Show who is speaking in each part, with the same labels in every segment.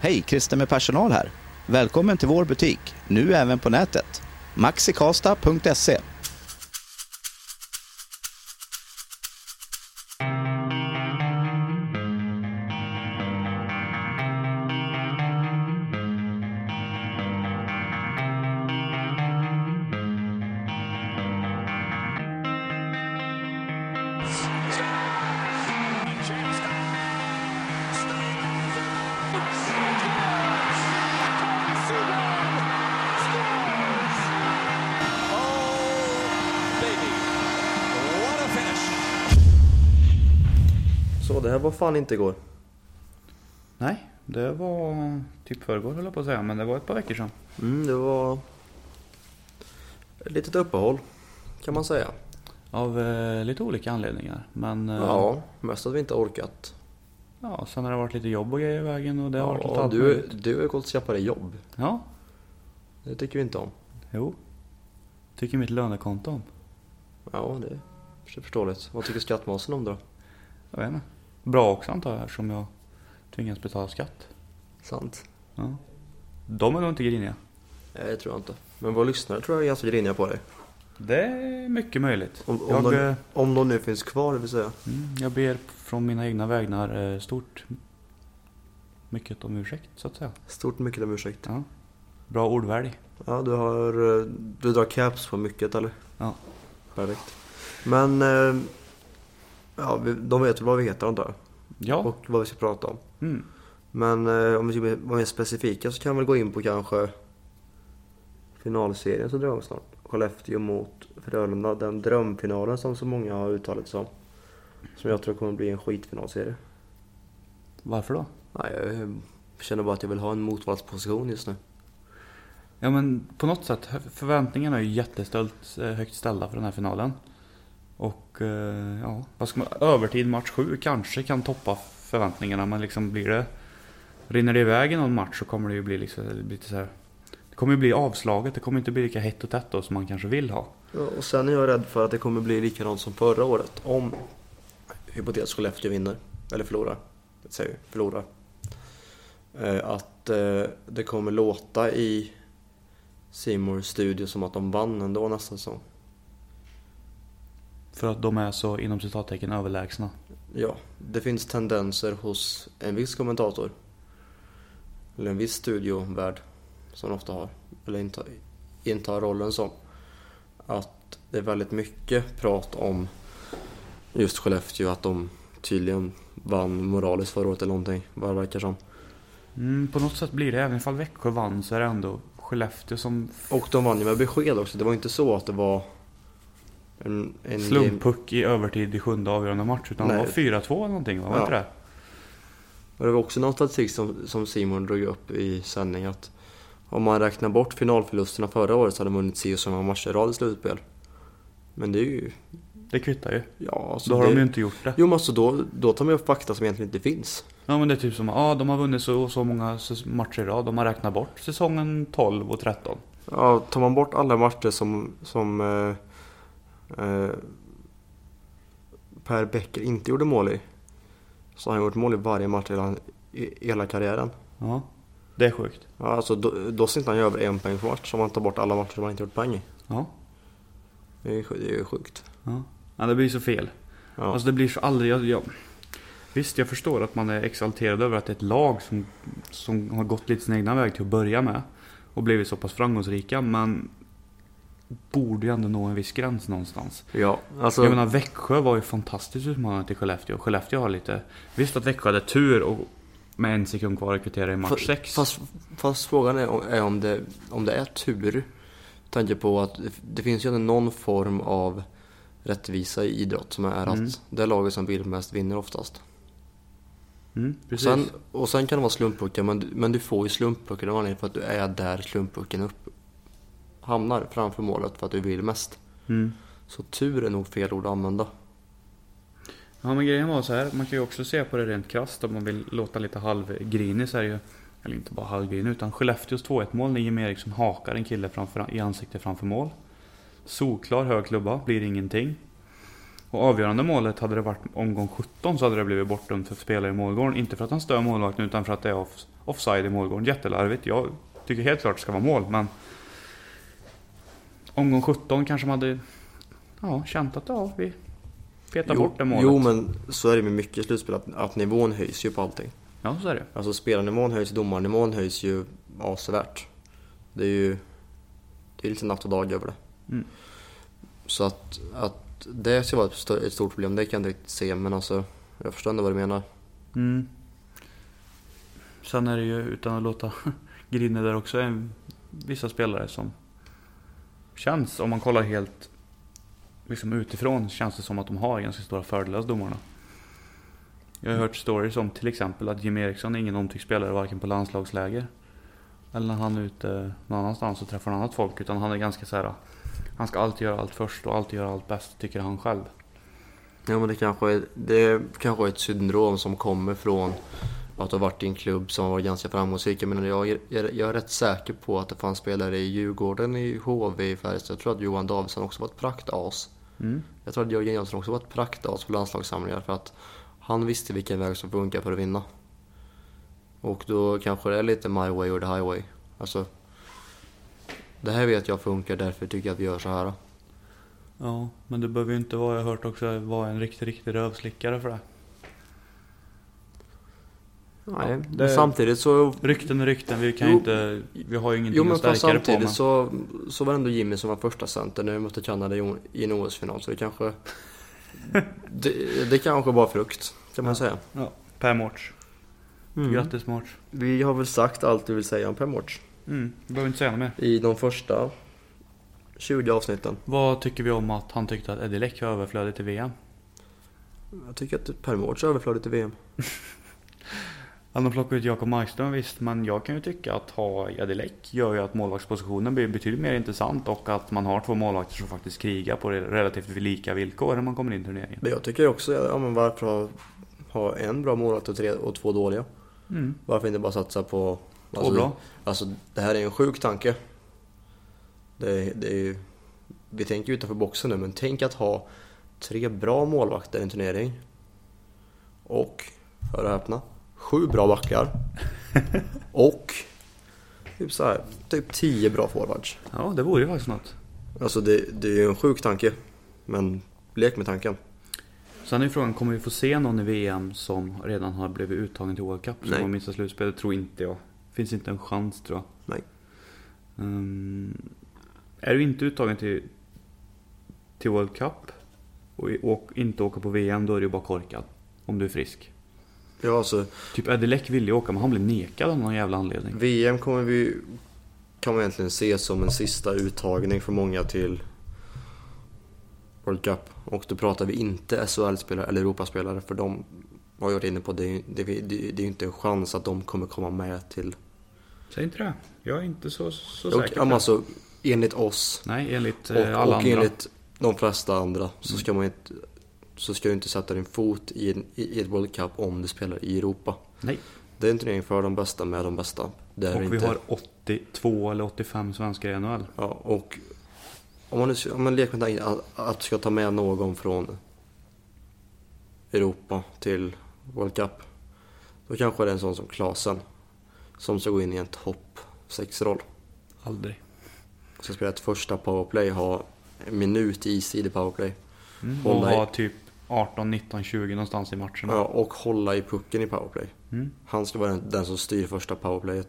Speaker 1: Hej, Christer med personal här. Välkommen till vår butik, nu även på nätet. maxikasta.se
Speaker 2: Så det här var fan inte igår.
Speaker 3: Nej, det var typ förrgår höll jag på att säga, men det var ett par veckor sedan.
Speaker 2: Mm, det var ett litet uppehåll kan man säga.
Speaker 3: Av eh, lite olika anledningar. Men eh,
Speaker 2: Ja, mest att vi inte har orkat.
Speaker 3: ja, sen har det varit lite jobb och grejer i vägen och det har varit lite
Speaker 2: Ja,
Speaker 3: allt
Speaker 2: du,
Speaker 3: möjligt.
Speaker 2: du har ju gått och skaffat dig jobb.
Speaker 3: Ja,
Speaker 2: Det tycker vi inte om.
Speaker 3: jo. Tycker mitt lönekonto om.
Speaker 2: Ja, det är förståeligt. Vad tycker skattmasen om det då?
Speaker 3: Jag vet inte. Bra också antar jag eftersom jag tvingas betala skatt.
Speaker 2: Sant.
Speaker 3: Ja. De är nog inte griniga.
Speaker 2: Nej, det tror jag inte. Men våra lyssnare tror jag är ganska griniga på dig. Det.
Speaker 3: Det är mycket möjligt.
Speaker 2: Om, om,
Speaker 3: jag,
Speaker 2: de,
Speaker 3: eh,
Speaker 2: om de nu finns kvar, det vill säga.
Speaker 3: mm, jag ber från mina egna vägnar eh, stort mycket om ursäkt så att säga.
Speaker 2: Stort mycket om ursäkt.
Speaker 3: Ja. Bra ordvälj.
Speaker 2: Ja, du har... eh, Du drar caps på mycket, eller?
Speaker 3: Ja.
Speaker 2: Perfekt. Men... eh, Ja, vi- de vet väl vad vi heter, antar jag.
Speaker 3: Ja.
Speaker 2: och vad vi ska prata om.
Speaker 3: Mm.
Speaker 2: Men eh, om vi ska bli- vara mer specifika så kan vi gå in på kanske finalserien som drar igång snart. Skellefteå mot Frölunda, den drömfinalen som så många har uttalat sig om. Som jag tror kommer bli en skitfinalserie.
Speaker 3: Varför då?
Speaker 2: Nej, jag eh, känner bara att jag vill ha en motvalsposition just nu.
Speaker 3: Ja men på något sätt, förväntningarna är ju jätteställt, eh, högt ställda för den här finalen. Och eh, ja, vad ska man, övertid match 7 kanske kan toppa förväntningarna men liksom blir det... Rinner det iväg i någon match så kommer det ju bli liksom, det blir lite så här, Det kommer ju bli avslaget, det kommer inte bli lika hett och tätt då som man kanske vill ha.
Speaker 2: Ja, och sen är jag rädd för att det kommer bli likadant som förra året. Om hypotetiskt Skellefteå vinner, eller förlorar, jag säger förlorar. Eh, Att eh, det kommer låta i Simors studio som att de vann ändå nästa säsong.
Speaker 3: För att de är så inom citattecken överlägsna.
Speaker 2: Ja, det finns tendenser hos en viss kommentator. Eller en viss studiovärd som ofta har, eller intar, intar rollen som. Att det är väldigt mycket prat om just Skellefteå, att de tydligen vann moraliskt förra året eller någonting, vad det verkar som.
Speaker 3: Mm, på något sätt blir det, även ifall Växjö vann så är det ändå Skellefteå som
Speaker 2: Och de vann ju med besked också, det var inte så att det var en... en
Speaker 3: slumppuck i övertid i sjunde avgörande match. Utan
Speaker 2: Nej.
Speaker 3: det var 4-2 eller någonting va? Var
Speaker 2: Ja.
Speaker 3: inte det?
Speaker 2: Och det var också någon statistik som, som Simon drog upp i sändning att om man räknar bort finalförlusterna förra året så hade man vunnit si och så många matcher i rad i slutspel. Men det är ju...
Speaker 3: Det kvittar ju.
Speaker 2: Ja, alltså
Speaker 3: Då har
Speaker 2: det,
Speaker 3: de ju inte gjort det.
Speaker 2: Jo men alltså då, då tar man upp fakta som egentligen inte finns.
Speaker 3: Ja men det är typ som, ja de har vunnit så och så många säs- matcher i rad. De har räknat bort säsongen 12 och 13.
Speaker 2: Ja, tar man bort alla matcher som, som eh, eh, Per Bäcker inte gjorde mål i så har han gjort mål i varje match i hela, i hela karriären.
Speaker 3: Ja. Det är sjukt.
Speaker 2: Ja, alltså då, då sitter han ju över en poäng per match om man tar bort alla matcher som han inte gjort poäng i.
Speaker 3: Ja.
Speaker 2: Det är ju sj- det är ju sjukt.
Speaker 3: Ja, ja det blir så fel.
Speaker 2: Ja.
Speaker 3: Alltså det blir så aldrig, jag, jag, Visst jag förstår att man är exalterad över att det är ett lag som, som har gått lite sin egna väg till att börja med. Och blivit så pass framgångsrika men Borde ju ändå nå en viss gräns någonstans.
Speaker 2: ja, alltså,
Speaker 3: Jag menar Växjö var ju fantastiskt utmanande till Skellefteå. Skellefteå har lite... Visst att Växjö hade tur och med en sekund kvar att kvittera i
Speaker 2: fa-
Speaker 3: match 6.
Speaker 2: Fast, fast frågan är, om- är om, det, om det är tur. Med Tanke på att det- det finns ju ändå någon form av rättvisa i idrott som är
Speaker 3: Mm.
Speaker 2: att det laget som vill mest vinner oftast.
Speaker 3: Mm,
Speaker 2: Och
Speaker 3: precis.
Speaker 2: sen, och sen kan det vara slumppuckar men, du- men du får ju slumppucken av anledning för att du är där slumppucken upp, hamnar framför målet för att du vill mest.
Speaker 3: Mm.
Speaker 2: Så tur är nog fel ord att använda.
Speaker 3: Ja men grejen var så här, man kan ju också se på det rent krasst om man vill låta lite halvgrinig så är det ju... Eller inte bara halvgrinig utan Skellefteås 2-1 mål när Jimmie Eriksson hakar en kille framför, i ansiktet framför mål. Solklar hög klubba, blir ingenting. Och avgörande målet, hade det varit omgång 17 så hade det blivit bortdömt för spelare i målgården. Inte för att han stör målvakten utan för att det är off- offside i målgården. Jättelarvigt. Jag tycker helt klart det ska vara mål, men... Omgång 17 kanske man hade ja, känt att ja, vi petar
Speaker 2: jo,
Speaker 3: bort det målet.
Speaker 2: jo, men så är det med mycket slutspel, att, att nivån höjs ju på allting.
Speaker 3: Ja, så är det.
Speaker 2: Alltså spelarnivån höjs, domarnivån höjs ju avsevärt. Det är ju det är lite natt och dag över det.
Speaker 3: Mm.
Speaker 2: Så att, att det ska vara ett stö- ett stort problem, det kan jag inte riktigt se. Men alltså, jag förstår ändå vad du menar.
Speaker 3: Mm. Sen är det ju, utan att låta grinig där också, en, vissa spelare som känns, om man kollar helt liksom utifrån, känns det som att de har ganska stora fördelar hos domarna. Jag har hört stories om till exempel att Jim Eriksson är ingen omtyckt spelare varken på landslagsläger eller när han är ute någon annanstans och träffar annat folk. Utan han är ganska så här. "Ah, han ska alltid göra allt först och alltid göra allt bäst, tycker han själv.
Speaker 2: Ja men det kanske är, det kanske är ett syndrom som kommer från att ha varit i en klubb som var ganska framgångsrik. Jag, menar, jag, är, jag är- jag är rätt säker på att det fanns spelare i Djurgården, i HV, i Färjestad. Jag tror att Johan Davidsson också var ett praktas.
Speaker 3: Mm.
Speaker 2: Jag tror att Jörgen Jönsson också var ett praktas på landslagssamlingar för att han visste vilken väg som funkar för att vinna. Och då kanske det är lite my way or the highway. Alltså, det här vet jag funkar, därför tycker jag att vi gör så här.
Speaker 3: Ja, men du behöver ju inte vara, jag har hört också, vara en riktig, riktig rövslickare för det.
Speaker 2: Nej,
Speaker 3: Ja,
Speaker 2: men
Speaker 3: det-
Speaker 2: samtidigt så
Speaker 3: Rykten är rykten, vi kan ju
Speaker 2: Jo.
Speaker 3: inte, vi har ju ingenting
Speaker 2: Jo men
Speaker 3: att
Speaker 2: fast
Speaker 3: stärka det på. Men...
Speaker 2: samtidigt så, så var det ändå Jimmy som var första center när vi mötte Kanada i O- i en OS-final så det kanske det, det kanske var frukt kan man
Speaker 3: Ja.
Speaker 2: säga.
Speaker 3: Per Mårts.
Speaker 2: Mm.
Speaker 3: Grattis Mårts.
Speaker 2: Vi har väl sagt allt vi vill säga om Pemwatch
Speaker 3: Mm, vi behöver inte säga något mer.
Speaker 2: i de första 20 avsnitten.
Speaker 3: Vad tycker vi om att han tyckte att Eddie Leck var överflödig till VM?
Speaker 2: Jag tycker att Pemwatch är överflödigt i VM.
Speaker 3: Han har plockat ut Jakob Markström visst, men jag kan ju tycka att ha Eddie Leck gör ju att målvaktspositionen blir betydligt mer intressant och att man har två målvakter som faktiskt krigar på relativt lika villkor när man kommer in i turneringen.
Speaker 2: Men jag tycker också, ja men varför ha, ha en bra målvakt och, tre, och två dåliga?
Speaker 3: Mm,
Speaker 2: Varför inte bara satsa på...
Speaker 3: två bra.
Speaker 2: Alltså det här är en sjuk tanke. Det, det är ju, vi tänker ju utanför boxen nu men tänk att ha tre bra målvakter i en turnering. Och, hör och häpna, sju bra backar. och typ, så här, typ tio bra forwards.
Speaker 3: Ja, det vore ju faktiskt något.
Speaker 2: Alltså det, det är ju en sjuk tanke. Men lek med tanken.
Speaker 3: Sen är frågan, kommer vi få se någon i VM som redan har blivit uttagen till World Cup? Som
Speaker 2: Nej.
Speaker 3: har missat slutspelet? Tror inte jag. Finns inte en chans tror jag.
Speaker 2: Nej.
Speaker 3: Ehm, är du inte uttagen till, till World Cup och, i- och inte åker på VM, då är du bara korkad. Om du är frisk.
Speaker 2: Ja, alltså,
Speaker 3: Typ Eddie Leck ville ju åka, men han blev nekad av någon jävla anledning.
Speaker 2: VM kommer vi kan man egentligen se som en sista uttagning för många till World Cup. Och då pratar vi inte SHL-spelare eller Europaspelare för de var jag varit inne på, det är ju det, är- det, är- det är ju inte en chans att de kommer komma med till...
Speaker 3: Säg inte det. Jag är inte så, så
Speaker 2: Och,
Speaker 3: säker.
Speaker 2: ja, men alltså, enligt oss
Speaker 3: Nej, enligt
Speaker 2: och,
Speaker 3: eh, alla
Speaker 2: och
Speaker 3: andra. Mm.
Speaker 2: enligt de flesta andra så ska man inte så ska du inte sätta din fot i, en, i i ett World Cup om du spelar i Europa.
Speaker 3: Nej.
Speaker 2: Det är en turnering för de bästa med de bästa. Det är
Speaker 3: Och
Speaker 2: inte...
Speaker 3: vi har 82 eller 85 svenskar i NHL.
Speaker 2: Ja, och om man, nu- om man leker med tanken att, att du ska ta med någon från Europa till World Cup. Då kanske det är en sån som Klasen. Som ska gå in i en topp 6-roll.
Speaker 3: Aldrig.
Speaker 2: Ska spela ett första powerplay, ha en minut istid i powerplay.
Speaker 3: Mm. Och
Speaker 2: Hålla i-
Speaker 3: var typ 18, 19, 20 någonstans i matchen.
Speaker 2: Ja, och hålla i pucken i powerplay.
Speaker 3: Mm.
Speaker 2: Han ska vara den, den som styr första powerplayet.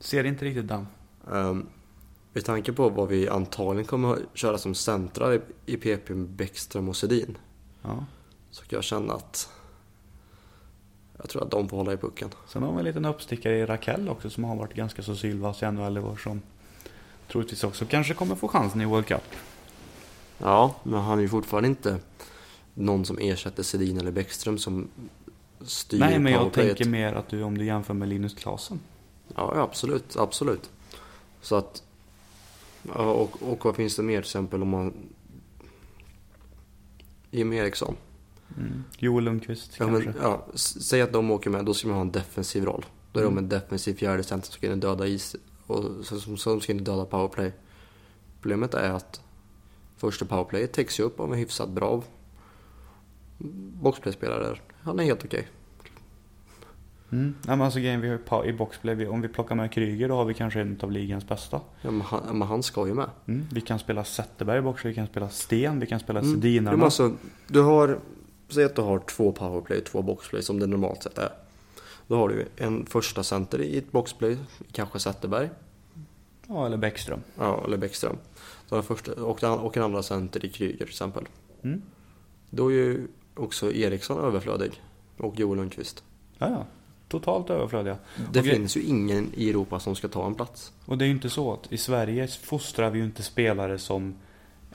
Speaker 3: Ser inte riktigt den.
Speaker 2: Um, med tanke på vad vi antagligen kommer att köra som centrar i, i PP med Bäckström och Sedin.
Speaker 3: Ja.
Speaker 2: Så kan jag känna att jag tror att de får hålla i pucken.
Speaker 3: Sen har vi en liten uppstickare i Raquel också som har varit ganska så sylvass i NHL i år som troligtvis också kanske kommer få chansen i World Cup.
Speaker 2: Ja, men han är ju fortfarande inte någon som ersätter Sedin eller Bäckström som styr
Speaker 3: Nej, men jag
Speaker 2: powerplayet.
Speaker 3: tänker mer att du om du jämför med Linus Klasen.
Speaker 2: Ja, ja, absolut, absolut. Så att... Ja, och, och vad finns det mer till exempel om man... Jimmy Eriksson.
Speaker 3: Joel Lundqvist
Speaker 2: Ja,
Speaker 3: kanske.
Speaker 2: men, ja, s- säg att de åker med, då ska man ha en defensiv roll. Då är de en defensiv fjärde center som ska in och döda is och som, som ska in och döda powerplay. Problemet är att Första powerplayet täcks ju upp av en hyfsat bra boxplayspelare där. Han är helt okej.
Speaker 3: Mm. Ja, men alltså grejen, vi har ju pa- i boxplay, vi- om vi plockar med Kryger då har vi kanske en av ligans bästa.
Speaker 2: Ja, men, han, men han ska ju med.
Speaker 3: Mm. Vi kan spela Zetterberg i boxplay, vi kan spela Sten, vi kan spela
Speaker 2: Mm.
Speaker 3: Sedinarna.
Speaker 2: Jo, men alltså, du har, säg att du har två powerplay och två boxplay som det normalt sett är. Då har du ju en första center i ett boxplay, kanske Zetterberg
Speaker 3: Ja, eller Bäckström.
Speaker 2: ja, eller Bäckström. Då har den första, och, den, och en andra center i Kryger till exempel.
Speaker 3: Mm.
Speaker 2: Då är ju också Eriksson överflödig och Joel Lundqvist.
Speaker 3: Ja, ja. Totalt överflödiga.
Speaker 2: Det
Speaker 3: Och gre-
Speaker 2: finns ju ingen i Europa som ska ta en plats.
Speaker 3: Och det är ju inte så att i Sverige fostrar vi ju inte spelare som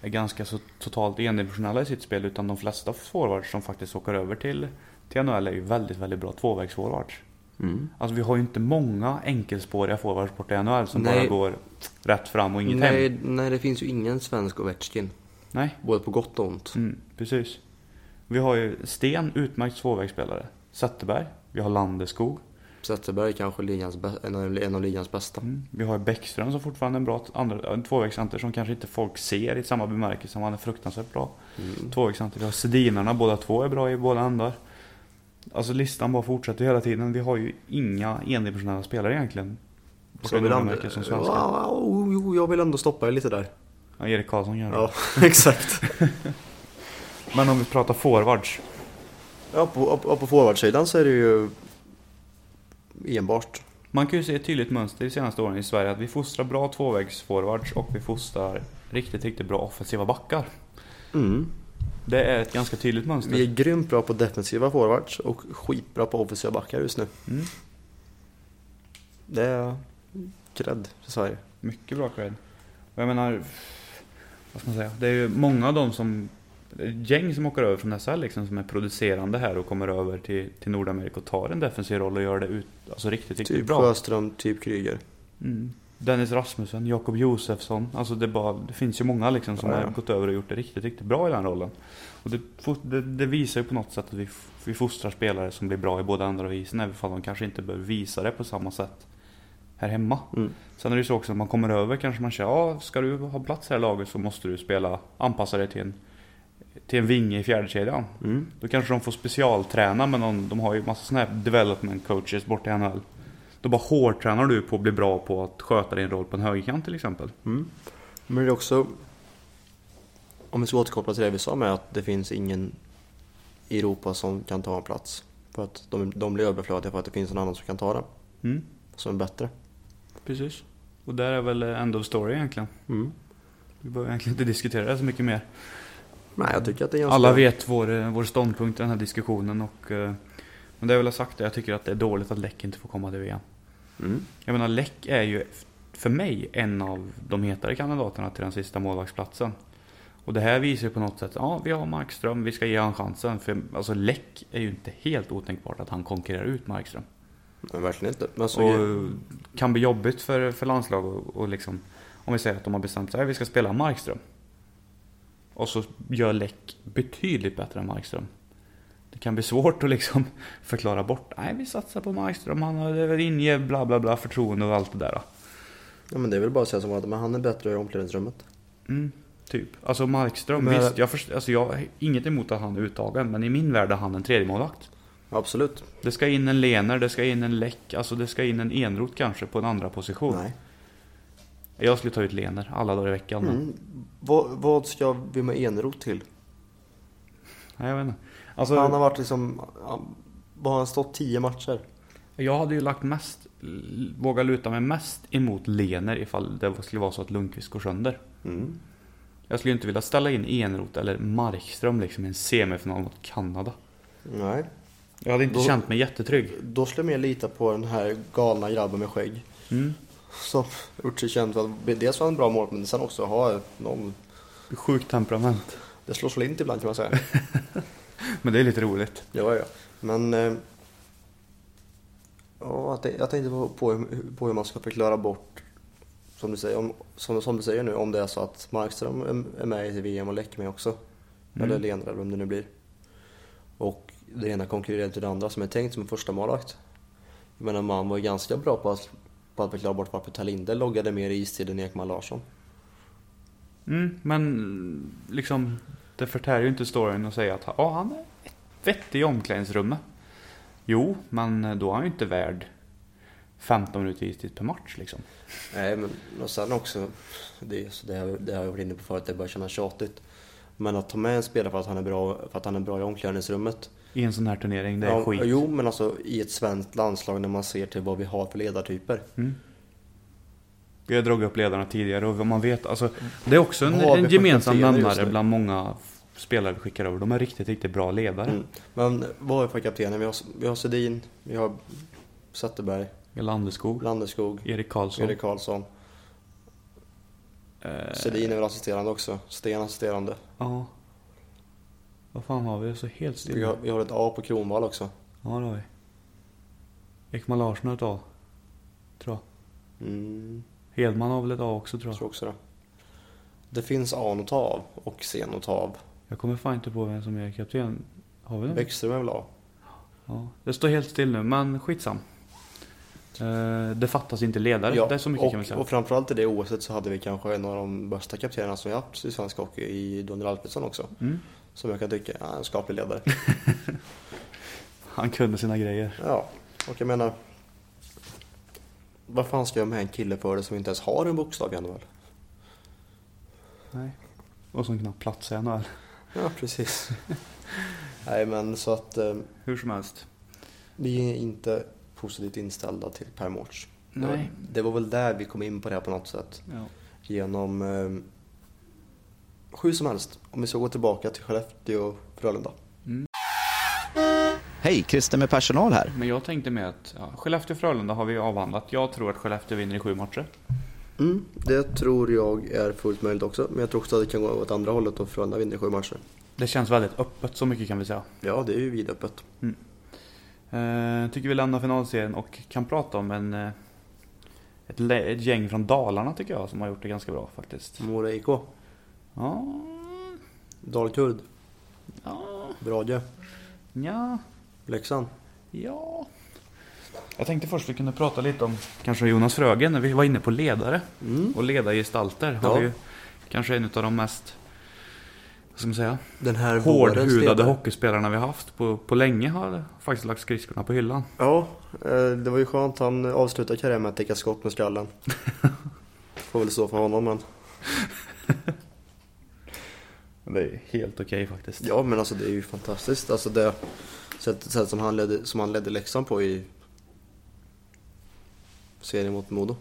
Speaker 3: är ganska så totalt endimensionella i sitt spel. Utan de flesta forwards som faktiskt åker över till, till NHL är ju väldigt, väldigt bra tvåvägsforwards.
Speaker 2: Mm.
Speaker 3: Alltså vi har ju inte många enkelspåriga forwards bort i NHL som bara
Speaker 2: Nej.
Speaker 3: går rätt fram och inget hem.
Speaker 2: Nej, nej, det finns ju ingen svensk Ovechkin.
Speaker 3: Nej.
Speaker 2: Både på gott och ont.
Speaker 3: Mm, precis. Vi har ju Sten, utmärkt tvåvägsspelare. Zetterberg. Vi har Landeskog.
Speaker 2: Zetterberg är kanske ligans bä- en, av, en av ligans bästa.
Speaker 3: Mm. Vi har ju Bäckström som fortfarande är en bra t- andra, en tvåvägscenter som kanske inte folk ser i samma bemärkelse som han är fruktansvärt bra.
Speaker 2: Mm.
Speaker 3: Tvåvägscenter. Vi har Sedinarna, båda två är bra i båda ändar. Alltså listan bara fortsätter hela tiden. Vi har ju inga endimensionella spelare egentligen. Borta i Nordamerika som svenskar.
Speaker 2: Ja, jo, jo, jag vill ändå stoppa er lite där.
Speaker 3: Ja, Erik Karlsson gör det.
Speaker 2: Ja, exakt.
Speaker 3: Men om vi pratar forwards.
Speaker 2: Ja, på, på, på forwardsidan så är det ju enbart.
Speaker 3: Man kan ju se ett tydligt mönster de senaste åren i Sverige att vi fostrar bra tvåvägsforwards och vi fostrar riktigt, riktigt bra offensiva backar.
Speaker 2: Mm.
Speaker 3: Det är ett ganska tydligt mönster.
Speaker 2: Vi är grymt bra på defensiva forwards och skitbra på offensiva backar just nu.
Speaker 3: Mm.
Speaker 2: Det är cred för Sverige.
Speaker 3: Mycket bra cred. Och jag menar, vad ska man säga? Det är ju många av dem som, det är ett gäng som åker över från SHL liksom, som är producerande här och kommer över till, till Nordamerika och tar en defensiv roll och gör det ut, alltså riktigt, riktigt
Speaker 2: Typ
Speaker 3: bra.
Speaker 2: Sjöström, typ Kryger.
Speaker 3: Mm. Dennis Rasmussen, Jakob Josefsson. Alltså det, är bara, det finns ju många liksom som
Speaker 2: Ja, ja.
Speaker 3: har gått över och gjort det riktigt, riktigt bra i den rollen. Och det, fo- det, det visar ju på något sätt att vi, f- vi fostrar spelare som blir bra i båda andra och isen, även om de kanske inte behöver visa det på samma sätt här hemma.
Speaker 2: Mm.
Speaker 3: Sen är det ju så också att man kommer över kanske man känner, ja ska du ha plats här i laget så måste du spela, anpassa dig till en, till en vinge i fjärdekedjan.
Speaker 2: Mm.
Speaker 3: Då kanske de får specialträna med någon, de har ju massa sådana här development coaches borta i NHL. Då bara hårdtränar du på att bli bra på att sköta din roll på en högerkant till exempel.
Speaker 2: Men det är också, om vi ska återkoppla till det vi sa med att det finns ingen i Europa som kan ta en plats. För att de, de blir överflödiga för att det finns någon annan som kan ta den,
Speaker 3: Mm,
Speaker 2: som är bättre.
Speaker 3: precis. Och där är väl end of story egentligen.
Speaker 2: Mm.
Speaker 3: Vi behöver egentligen inte diskutera det så mycket mer.
Speaker 2: Nej, jag tycker att det är ganska...
Speaker 3: Alla vet vår, eh, vår ståndpunkt i den här diskussionen och... eh, Men det jag vill ha sagt är att jag tycker att det är dåligt att Läck inte får komma till VM.
Speaker 2: Mm.
Speaker 3: Jag menar Läck är ju f- för mig en av de hetare kandidaterna till den sista målvaktsplatsen. Och det här visar ju på något sätt, ja vi har Markström, vi ska ge honom chansen. För alltså Läck är ju inte helt otänkbart att han konkurrerar ut Markström.
Speaker 2: Nej, verkligen inte. Men så
Speaker 3: Och kan bli jobbigt för, för landslag och, och liksom, om vi säger att de har bestämt sig, vi ska spela Markström. Och så gör Läck betydligt bättre än Markström. Det kan bli svårt att liksom förklara bort, nej vi satsar på Markström, han har- det inger bla bla bla förtroende och allt det där.
Speaker 2: ja, men det är väl bara att säga som att men han är bättre i omklädningsrummet.
Speaker 3: Mm, typ. Alltså Markström,
Speaker 2: Men-
Speaker 3: visst, jag, först, alltså jag har inget emot att han är uttagen, men i min värld är han en tredjemålvakt.
Speaker 2: Absolut.
Speaker 3: Det ska in en Lener, det ska in en Läck, alltså det ska in en Enroth kanske på en andra position.
Speaker 2: Nej.
Speaker 3: Jag skulle ta ut Lener alla dagar i veckan. men-
Speaker 2: Mm. Vad, vad ska vi med Eneroth till?
Speaker 3: Nej, jag vet inte. Alltså,
Speaker 2: Han har varit liksom... han- Vad har han stått? Tio matcher?
Speaker 3: Jag hade ju lagt mest, vågat luta mig mest emot Lener ifall det skulle vara så att Lundqvist går sönder.
Speaker 2: Mm.
Speaker 3: Jag skulle ju inte vilja ställa in Enroth eller Markström liksom i en semifinal mot Kanada.
Speaker 2: Nej.
Speaker 3: Jag hade inte
Speaker 2: Då-
Speaker 3: känt mig jättetrygg.
Speaker 2: Då skulle jag mer lita på den här galna grabben med skägg.
Speaker 3: Mm.
Speaker 2: Som gjort sig känd för att dels vara en bra mål, men sen också ha någon...
Speaker 3: Sjukt temperament.
Speaker 2: Det slår slint ibland kan man säga.
Speaker 3: Men det är lite roligt.
Speaker 2: ja, ja. Men... Eh, ja, jag tän- jag tänkte på, på, hur- på hur man ska förklara bort, som du säger, om, som, som du säger nu, om det är så att Markström är- är med i VM och Läck med också.
Speaker 3: Mm.
Speaker 2: Eller Lener, eller vem det nu blir. Och det ena konkurrerar till det andra som är tänkt som en första målvakt. Jag menar, man var ju ganska bra på att, på att förklara bort varför Talinder loggade mer istid än Ekman Larsson.
Speaker 3: Mm, men liksom, det förtär ju inte storyn att säga att ja, han är vettig i omklädningsrummet. Jo, men då är han ju inte värd 15 minuter istid per match liksom.
Speaker 2: Nej, men och sen också, det, så det, har, det har jag varit inne på förut, det börjar kännas tjatigt. Men att ta med en spelare för att han är bra, för att han är bra i omklädningsrummet.
Speaker 3: I en sån här turnering, det är
Speaker 2: ja,
Speaker 3: skit.
Speaker 2: Jo, men alltså i ett svenskt landslag när man ser till vad vi har för ledartyper.
Speaker 3: Mm. Vi har dragit upp ledarna tidigare och vad man vet, alltså, det är också en,
Speaker 2: Mm. Vad har vi
Speaker 3: en
Speaker 2: för
Speaker 3: gemensam
Speaker 2: kaptener just
Speaker 3: nämnare
Speaker 2: nu?
Speaker 3: bland många f- spelare vi skickar över. De är riktigt, riktigt bra ledare.
Speaker 2: Mm. Men vad har vi för kaptener? Vi har, vi har Sedin, vi har Zetterberg,
Speaker 3: Landeskog,
Speaker 2: Landeskog,
Speaker 3: Erik Karlsson.
Speaker 2: Erik Karlsson.
Speaker 3: Eh,
Speaker 2: Sedin är väl assisterande också? Sten assisterande.
Speaker 3: ja. Vad fan har vi? Det är så helt
Speaker 2: Vi
Speaker 3: stilla.
Speaker 2: har, vi har ett A på Kronvall också.
Speaker 3: Ja, det har vi. Ekman Larsson har ett A. Tror jag.
Speaker 2: Mm,
Speaker 3: Hedman har väl ett A också tror
Speaker 2: jag
Speaker 3: jag.
Speaker 2: tror också det. Det finns A att ta av och C att ta av.
Speaker 3: Jag kommer fan inte på vem som är kapten. Har vi det?
Speaker 2: Bäckström är väl A?
Speaker 3: Ja. Det står helt still nu, men skitsam. Eh, det fattas inte ledare. det är så mycket
Speaker 2: och,
Speaker 3: kan vi säga.
Speaker 2: och framförallt i det OSet så hade vi kanske en av de bästa kaptenerna som vi haft i svensk hockey i Daniel Alfredsson också.
Speaker 3: Mm.
Speaker 2: Som jag kan tycka är en skaplig ledare.
Speaker 3: Han kunde sina grejer.
Speaker 2: ja, och jag menar. Vad fan ska jag med en kille för det som inte ens har en bokstav i NHL?
Speaker 3: Nej. Och som knappt plats i NHL.
Speaker 2: Ja, precis. Nej, men så att eh,
Speaker 3: Hur som helst.
Speaker 2: vi är inte positivt inställda till Per Mårts. Det var-
Speaker 3: Nej.
Speaker 2: Det var väl där vi kom in på det här på något sätt.
Speaker 3: Ja.
Speaker 2: Genom eh, hur som helst, om vi ska gå tillbaka till Skellefteå och Frölunda.
Speaker 1: Hej, Christer med personal här.
Speaker 3: Men jag tänkte med att ja, Skellefteå-Frölunda har vi avhandlat. Jag tror att Skellefteå vinner i sju matcher.
Speaker 2: Mm, det tror jag är fullt möjligt också. Men jag tror också att det kan gå åt andra hållet och Frölunda vinner sju matcher.
Speaker 3: Det känns väldigt öppet, så mycket kan vi säga.
Speaker 2: Ja, det är ju vidöppet.
Speaker 3: Eh, tycker vi lämnar finalserien och kan prata om en, eh, ett, lä- ett gäng från Dalarna tycker jag som har gjort det ganska bra faktiskt.
Speaker 2: Mora IK,
Speaker 3: Ja,
Speaker 2: Dalkurd,
Speaker 3: ja,
Speaker 2: Brage,
Speaker 3: ja,
Speaker 2: Leksand.
Speaker 3: ja. Jag tänkte först vi kunde prata lite om kanske Jonas Frögen, när vi var inne på ledare.
Speaker 2: Mm.
Speaker 3: Och ledargestalter har
Speaker 2: Ja.
Speaker 3: vi ju kanske en av de mest, vad ska man säga,
Speaker 2: Den här vårens
Speaker 3: hårdhudade
Speaker 2: ledare.
Speaker 3: hockeyspelarna vi har haft på, på länge har faktiskt lagt skridskorna på hyllan.
Speaker 2: Ja, eh, det var ju skönt. Han avslutade karriären med att täcka skott med skallen. Får väl stå för honom men.
Speaker 3: Det är helt okej faktiskt.
Speaker 2: Ja men alltså det är ju fantastiskt. Alltså det sättet sätt som, han ledde- som han ledde Leksand på i serien mot Modo.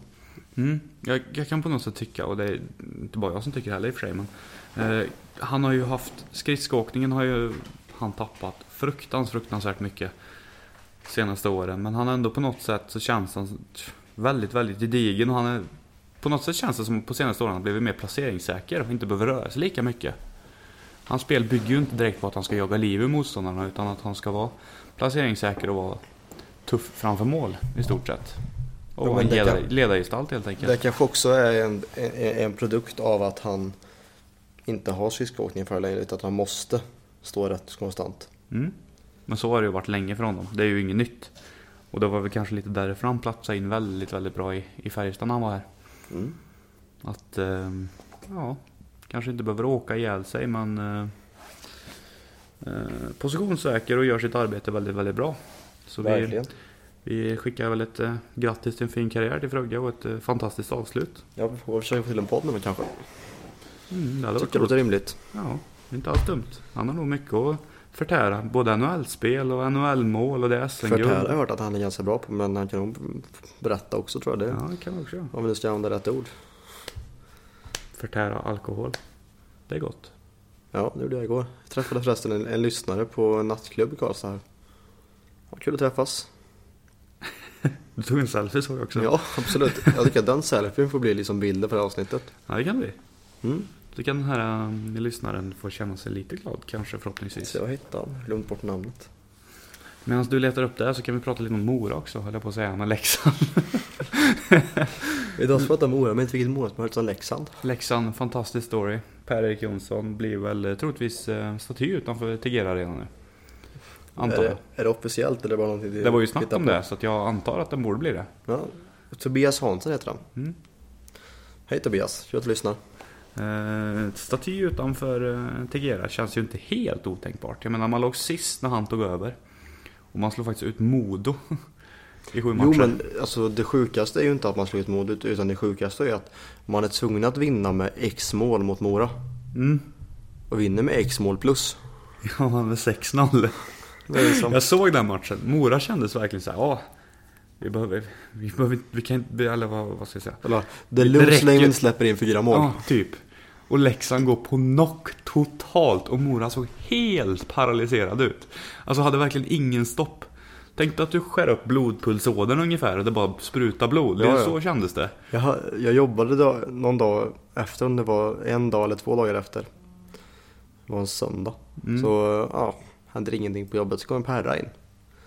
Speaker 3: Mm. Jag, jag kan på något sätt tycka, och det är inte bara jag som tycker heller i och för sig, men eh, han har ju haft, skridskoåkningen har ju han tappat fruktans, fruktansvärt mycket senaste åren. Men han har ändå på något sätt så känns han väldigt, väldigt gedigen och han är på något sätt känns det som på senaste åren har han blivit mer placeringssäker och inte behöver röra sig lika mycket. Hans spel bygger ju inte direkt på att han ska jaga liv i motståndarna utan att han ska vara placeringssäker och vara tuff framför mål i stort sett. Och
Speaker 2: Ja,
Speaker 3: vara en
Speaker 2: men det
Speaker 3: ledar-
Speaker 2: kan-
Speaker 3: ledargestalt helt enkelt.
Speaker 2: Det kanske också är en, en, en produkt av att han inte har skridskoåkning för längre utan att han måste stå rätt konstant.
Speaker 3: Mm. Men så har det ju varit länge för honom. Det är ju inget nytt. Och det var väl kanske lite därför han platsade in väldigt, väldigt bra i, i Färjestad när han var här.
Speaker 2: Mm.
Speaker 3: Att, ehm, ja, kanske inte behöver åka ihjäl sig men eh, eh, positionssäker och gör sitt arbete väldigt, väldigt bra. Så vi,
Speaker 2: Verkligen.
Speaker 3: vi skickar väl ett eh, grattis till en fin karriär till Frögge och ett eh, fantastiskt avslut.
Speaker 2: Ja, vi får försöka få till en podd med honom kanske.
Speaker 3: Mm, det hade
Speaker 2: Jag
Speaker 3: varit
Speaker 2: tycker det
Speaker 3: roligt.
Speaker 2: låter rimligt.
Speaker 3: Ja, inte alls dumt. Han har nog mycket att förtära. Både NHL-spel och NHL-mål och det är
Speaker 2: För Per har jag
Speaker 3: SM-guld.
Speaker 2: hört att han är ganska bra på men han kan nog berätta också tror jag. Det.
Speaker 3: Ja, det kan man också göra.
Speaker 2: Om vi nu ska använda rätt ord.
Speaker 3: förtära alkohol. Det är gott.
Speaker 2: Ja, det gjorde jag igår. Jag träffade förresten en, en lyssnare på en nattklubb i Karlstad. här. Ja, kul att träffas.
Speaker 3: Du tog en selfie såg jag också.
Speaker 2: Ja, absolut. Jag tycker att den selfien får bli liksom bilden för det här avsnittet.
Speaker 3: Ja, det kan vi.
Speaker 2: Mm.
Speaker 3: Då kan den här um, lyssnaren få känna sig lite glad kanske förhoppningsvis.
Speaker 2: Så jag hittade han. Glömt bort namnet.
Speaker 3: Medan du letar upp det här så kan vi prata lite om Mora också, höll jag på att säga, men Leksand.
Speaker 2: Idag ska vi prata om Mora, men inte vilket Mora som helst, utan Leksand.
Speaker 3: Leksand, fantastisk story. Per-Erik Jonsson blir väl eh, troligtvis eh, staty utanför Tegera Arena nu. Antar
Speaker 2: Är
Speaker 3: jag.
Speaker 2: det, är det officiellt eller bara någonting
Speaker 3: Det var ju snack
Speaker 2: hitta
Speaker 3: om
Speaker 2: på?
Speaker 3: det, så att jag antar att den borde bli det.
Speaker 2: Ja. Tobias Hansson heter han.
Speaker 3: Mm.
Speaker 2: Hej Tobias, kul att du lyssnar.
Speaker 3: Eh, Ett staty utanför eh, Tegera känns ju inte helt otänkbart. Jag menar man låg sist när han tog över. Och man slog faktiskt ut Modo i sju matcher.
Speaker 2: Jo men alltså det sjukaste är ju inte att man slår ut Modo utan det sjukaste är att man är tvungen att vinna med X mål mot Mora.
Speaker 3: Mm.
Speaker 2: Och vinner med X mål plus.
Speaker 3: Ja, man med 6-0.
Speaker 2: Det är som...
Speaker 3: Jag såg den matchen. Mora kändes verkligen så här, ja. Vi behöver, vi behöver inte- vi kan inte, eller vad, vad ska jag säga?
Speaker 2: Eller, The
Speaker 3: räcker.
Speaker 2: Loose Lane släpper in fyra mål.
Speaker 3: Ja, typ. Och Leksand går på knock totalt och Mora såg helt paralyserad ut. Alltså hade verkligen ingen stopp. Tänk dig att du skär upp blodpulsådern ungefär och det bara sprutar blod.
Speaker 2: Ja,
Speaker 3: det,
Speaker 2: ja.
Speaker 3: Så kändes det.
Speaker 2: Jag, jag jobbade då, någon dag efter, om det var en dag eller två dagar efter. Det var en söndag. Så ja, hände ingenting på jobbet. Så kom en perra in.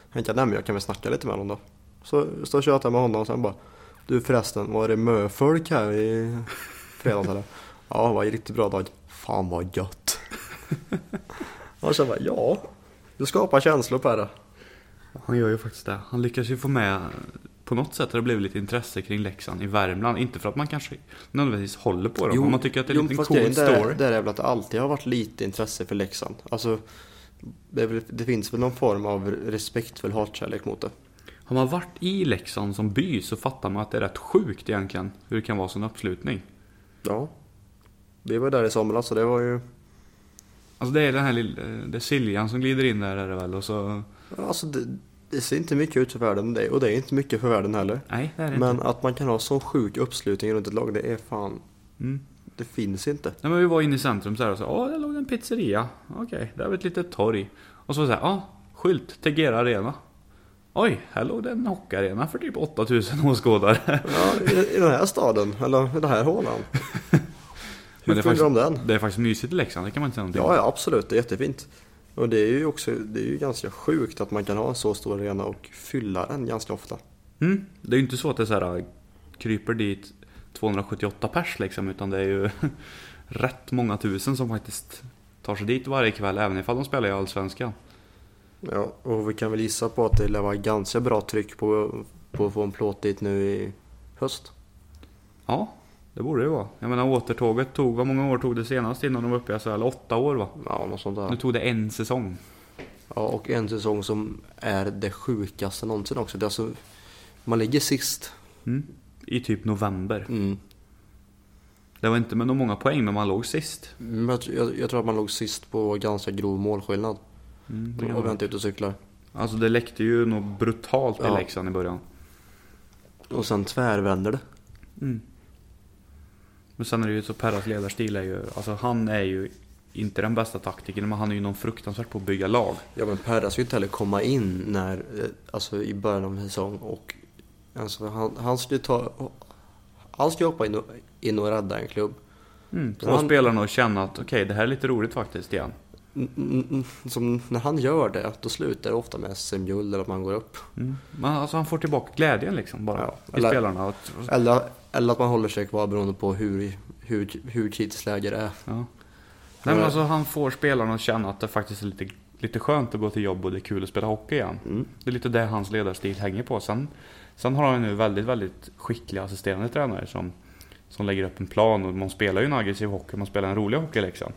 Speaker 2: Jag tänkte, nej men jag kan väl snacka lite med honom då. Så står och tjötar med honom och sen bara. Du förresten, var det möfolk här i fredags eller? Ja, det var en riktigt bra dag. Fan vad gött. och sen bara, ja. Du skapar känslor perra.
Speaker 3: Han gör ju faktiskt det. Han lyckas ju få med på något sätt har det blivit lite intresse kring Leksand i Värmland. Inte för att man kanske nödvändigtvis håller på dem, men man tycker att det är en liten
Speaker 2: fast
Speaker 3: cool
Speaker 2: grejen där-
Speaker 3: story.
Speaker 2: Där är väl att det alltid har varit lite intresse för Leksand. Alltså, det, är väl, det finns väl någon form av respektfull hatkärlek mot det.
Speaker 3: Har man varit i Leksand som by så fattar man att det är rätt sjukt egentligen hur det kan vara sån uppslutning.
Speaker 2: Ja. Vi var där i somras så det var ju...
Speaker 3: Alltså det är den här lilla, eh, det är Siljan som glider in där är det väl och så...
Speaker 2: Alltså, det, det ser inte mycket ut för världen det, och det är inte mycket för världen heller.
Speaker 3: Nej, det är det inte.
Speaker 2: Men att man kan ha sån sjuk uppslutning runt ett lag, det är fan...
Speaker 3: Mm.
Speaker 2: Det finns inte.
Speaker 3: Nej, men vi var inne i centrum så här och så, ja, där låg en pizzeria. Okej, där var ett litet torg. Och så var det så här, ja, skylt, Tegera Arena. Oj, här låg det en hockeyarena för typ 8000 åskådare.
Speaker 2: Ja, i, i den här staden, eller i den här hålan.
Speaker 3: Men
Speaker 2: Hur
Speaker 3: det
Speaker 2: kunde
Speaker 3: är faktiskt-
Speaker 2: de den?
Speaker 3: Det är faktiskt mysigt i Leksand, det kan man inte säga någonting
Speaker 2: Ja, ja, absolut. Det är jättefint. Och det är ju också det är ju ganska sjukt att man kan ha en så stor arena och fylla den ganska ofta.
Speaker 3: Mm. Det är ju inte så att det är så här, äh, kryper dit 278 pers liksom, utan det är ju rätt många tusen som faktiskt tar sig dit varje kväll, även ifall de spelar i Allsvenskan.
Speaker 2: Ja, och vi kan väl gissa på att det lär vara ganska bra tryck på, på att få en plåt dit nu i höst.
Speaker 3: Ja, det borde det ju vara. Jag menar återtåget tog, vad många år tog det senast innan de var uppe i SHL? Åtta år va?
Speaker 2: Ja, något sånt
Speaker 3: Nu
Speaker 2: där.
Speaker 3: tog det en säsong.
Speaker 2: Ja, och en säsong som är det sjukaste någonsin också. Det är alltså, man ligger sist.
Speaker 3: Mm. I typ november.
Speaker 2: Mm.
Speaker 3: Det var inte med några många poäng, men man låg sist.
Speaker 2: Men jag, jag, jag tror att man låg sist på ganska grov målskillnad.
Speaker 3: Mm, det kan
Speaker 2: Om
Speaker 3: vara.
Speaker 2: jag inte är ute och cyklar.
Speaker 3: alltså det läckte ju något brutalt i
Speaker 2: Ja.
Speaker 3: Leksand i början.
Speaker 2: Och sen tvärvänder det.
Speaker 3: Mm. Men sen är det ju så Perras ledarstil är ju, alltså han är ju inte den bästa taktikern, men han är ju någon fruktansvärt på att bygga lag.
Speaker 2: Ja men Perra ska ju inte heller komma in när, eh, alltså i början av en säsong och alltså, han, han ska ju ta, han ska ju hoppa in och, in och rädda en klubb.
Speaker 3: Mm.
Speaker 2: Så
Speaker 3: Få
Speaker 2: han-
Speaker 3: spelarna att känna att okej, det här är lite roligt faktiskt igen.
Speaker 2: N- n- n- Som när han gör det, då slutar det ofta med SM-guld eller att man går upp.
Speaker 3: Mm. Men alltså han får tillbaka glädjen liksom bara.
Speaker 2: Ja,
Speaker 3: I
Speaker 2: eller-
Speaker 3: spelarna. Att,
Speaker 2: Eller, eller att man håller sig kvar beroende på hur, hur, hur kritiskt läge det är.
Speaker 3: ja. Nej men alltså han får spelarna att känna att det faktiskt är lite, lite skönt att gå till jobb och det är kul att spela hockey igen.
Speaker 2: Mm.
Speaker 3: Det är lite det hans ledarstil hänger på. Sen, sen har han ju nu väldigt, väldigt skickliga assisterande tränare som, som lägger upp en plan och man spelar ju en aggressiv hockey, man spelar en rolig hockey liksom.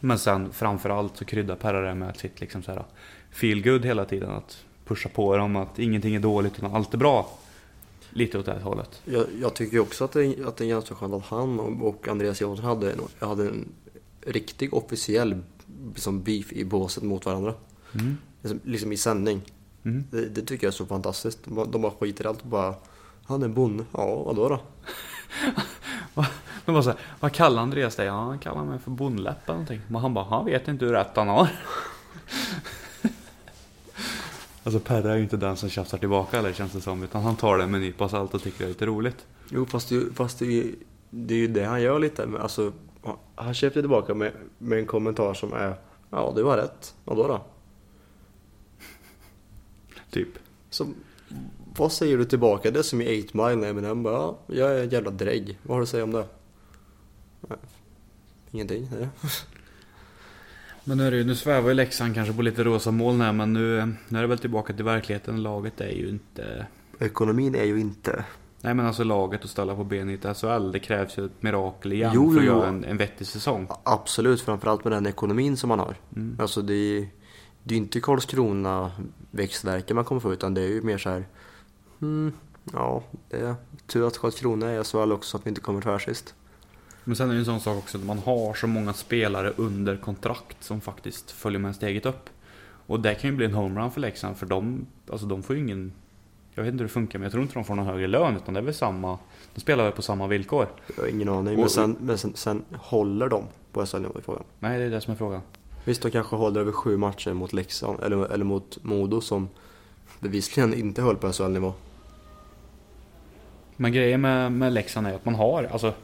Speaker 3: Men sen framförallt så kryddar Perra det med sitt liksom så här feel good hela tiden. Att pusha på dem att ingenting är dåligt utan allt är bra. Lite åt det här hållet.
Speaker 2: Jag, jag tycker ju också att det, är- att det är ganska skönt att han och, och Andreas Johansson hade en, hade en riktig officiell liksom, beef i båset mot varandra.
Speaker 3: Mm.
Speaker 2: Liksom, liksom i sändning.
Speaker 3: Mm.
Speaker 2: Det, det tycker jag är så fantastiskt. De, bara- de bara skiter i allt och bara Han är en bonde. Ja, vadå då?
Speaker 3: De bara så här, vad kallar Andreas dig? Ja, han kallar mig för bondläpp eller någonting. Men han bara, han vet inte hur rätt han har. alltså Perra är ju inte den som tjafsar tillbaka eller känns det som. Utan han tar det med en nypa salt och tycker det är lite roligt.
Speaker 2: Jo, fast, det, fast det, är ju- det är ju det han gör lite. Men alltså, han- han köpte tillbaka med, med en kommentar som är Ja, du har rätt. Vadå då?
Speaker 3: Typ.
Speaker 2: Så, vad säger du tillbaka? Det är som i 8 Mile när Eminem bara ja, Jag är en jävla drägg. Vad har du att säga om det? Nej. Ingenting. Eller?
Speaker 3: Men nu, är det, ju- nu svävar ju Leksand kanske på lite rosa moln här. Men nu, nu är det väl tillbaka till verkligheten. Laget är ju inte...
Speaker 2: Ekonomin är ju inte
Speaker 3: Nej men alltså laget att ställa på ben i ett SHL, det krävs ju ett mirakel igen
Speaker 2: Jo,
Speaker 3: för att
Speaker 2: jo, jo.
Speaker 3: göra en, en vettig säsong.
Speaker 2: Absolut, framförallt med den ekonomin som man har. Alltså det är det är ju inte Karlskrona växtverken man kommer få utan det är ju mer så här. Mm, ja, det är tur att Karlskrona är så också så att vi inte kommer tvärsist.
Speaker 3: Men sen är det ju en sån sak också att man har så många spelare under kontrakt som faktiskt följer med steget upp. Och det kan ju bli en homerun för Leksand för de, alltså de får ju ingen... Jag vet inte hur det funkar men jag tror inte de får någon högre lön utan det är väl samma... De spelar väl på samma villkor?
Speaker 2: Jag har ingen aning.
Speaker 3: Och-
Speaker 2: Men sen, men sen, sen håller de på SHL-nivå i frågan.
Speaker 3: Nej det är det som är frågan.
Speaker 2: Visst, de kanske håller över sju matcher mot Leksand eller, eller mot Modo som bevisligen inte höll på SHL-nivå.
Speaker 3: Men grejen med, med Leksand är att man har, alltså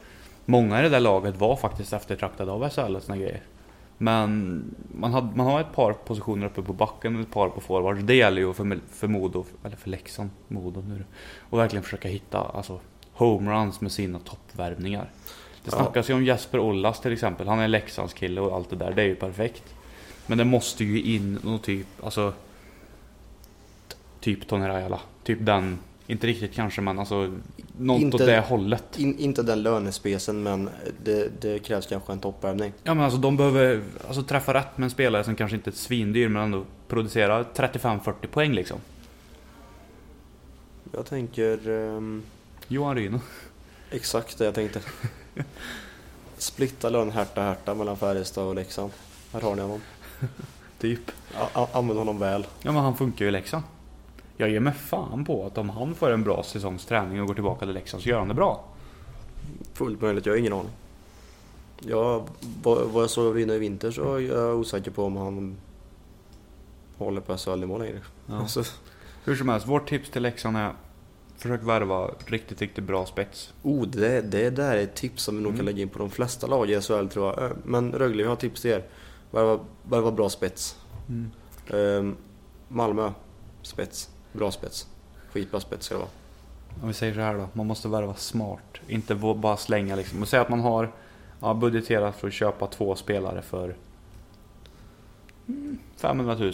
Speaker 3: Många i det där laget var faktiskt eftertraktade av SHL och såna grejer. Men man, hade, man har ett par positioner uppe på backen och ett par på forwards. Det gäller ju för, för Modo, eller för Leksand, Modo nu då, Och verkligen försöka hitta alltså, homeruns med sina toppvärvningar. Det
Speaker 2: Ja.
Speaker 3: snackas ju om Jesper Ollas till exempel. Han är Leksands kille och allt det där. Det är ju perfekt. Men det måste ju in någon typ, alltså... t- Typ Tony Rajala. Typ den, inte riktigt kanske men alltså... Något
Speaker 2: Inte-
Speaker 3: åt det hållet.
Speaker 2: In, inte den lönespecen men det, det krävs kanske en toppvärvning.
Speaker 3: Ja men alltså de behöver alltså, träffa rätt med en spelare som kanske inte är svindyr men ändå producerar 35-40 poäng liksom.
Speaker 2: Jag tänker ehm,
Speaker 3: Johan Ryno.
Speaker 2: exakt det jag tänkte. Splitta lön härta härta mellan Färjestad och Leksand. Här har ni honom.
Speaker 3: Typ.
Speaker 2: A- a- använd honom väl.
Speaker 3: Ja men han funkar ju i Leksand. Jag ger mig fan på att om han får en bra säsongsträning och går tillbaka till Leksand så gör han det bra.
Speaker 2: Fullt möjligt, jag har ingen aning. Jag, vad, vad jag såg av Rino i vinter så är jag osäker på om han håller på SHL-nivå längre. Alltså,
Speaker 3: Hur som helst, vårt tips till Leksand är Försök värva riktigt, riktigt bra spets.
Speaker 2: Oh, det, det där är ett tips som vi nog
Speaker 3: Mm.
Speaker 2: kan lägga in på de flesta lag i SHL tror jag. Eh, Men Rögle, vi har tips till er. Värva värva bra spets.
Speaker 3: Mm.
Speaker 2: Ehm, Malmö, spets. Bra spets. Skitbra spets ska det vara.
Speaker 3: Om vi säger så här då, man måste värva smart. Inte vå- bara slänga liksom. Och säg att man har ja, budgeterat för att köpa två spelare för mm, 500 000.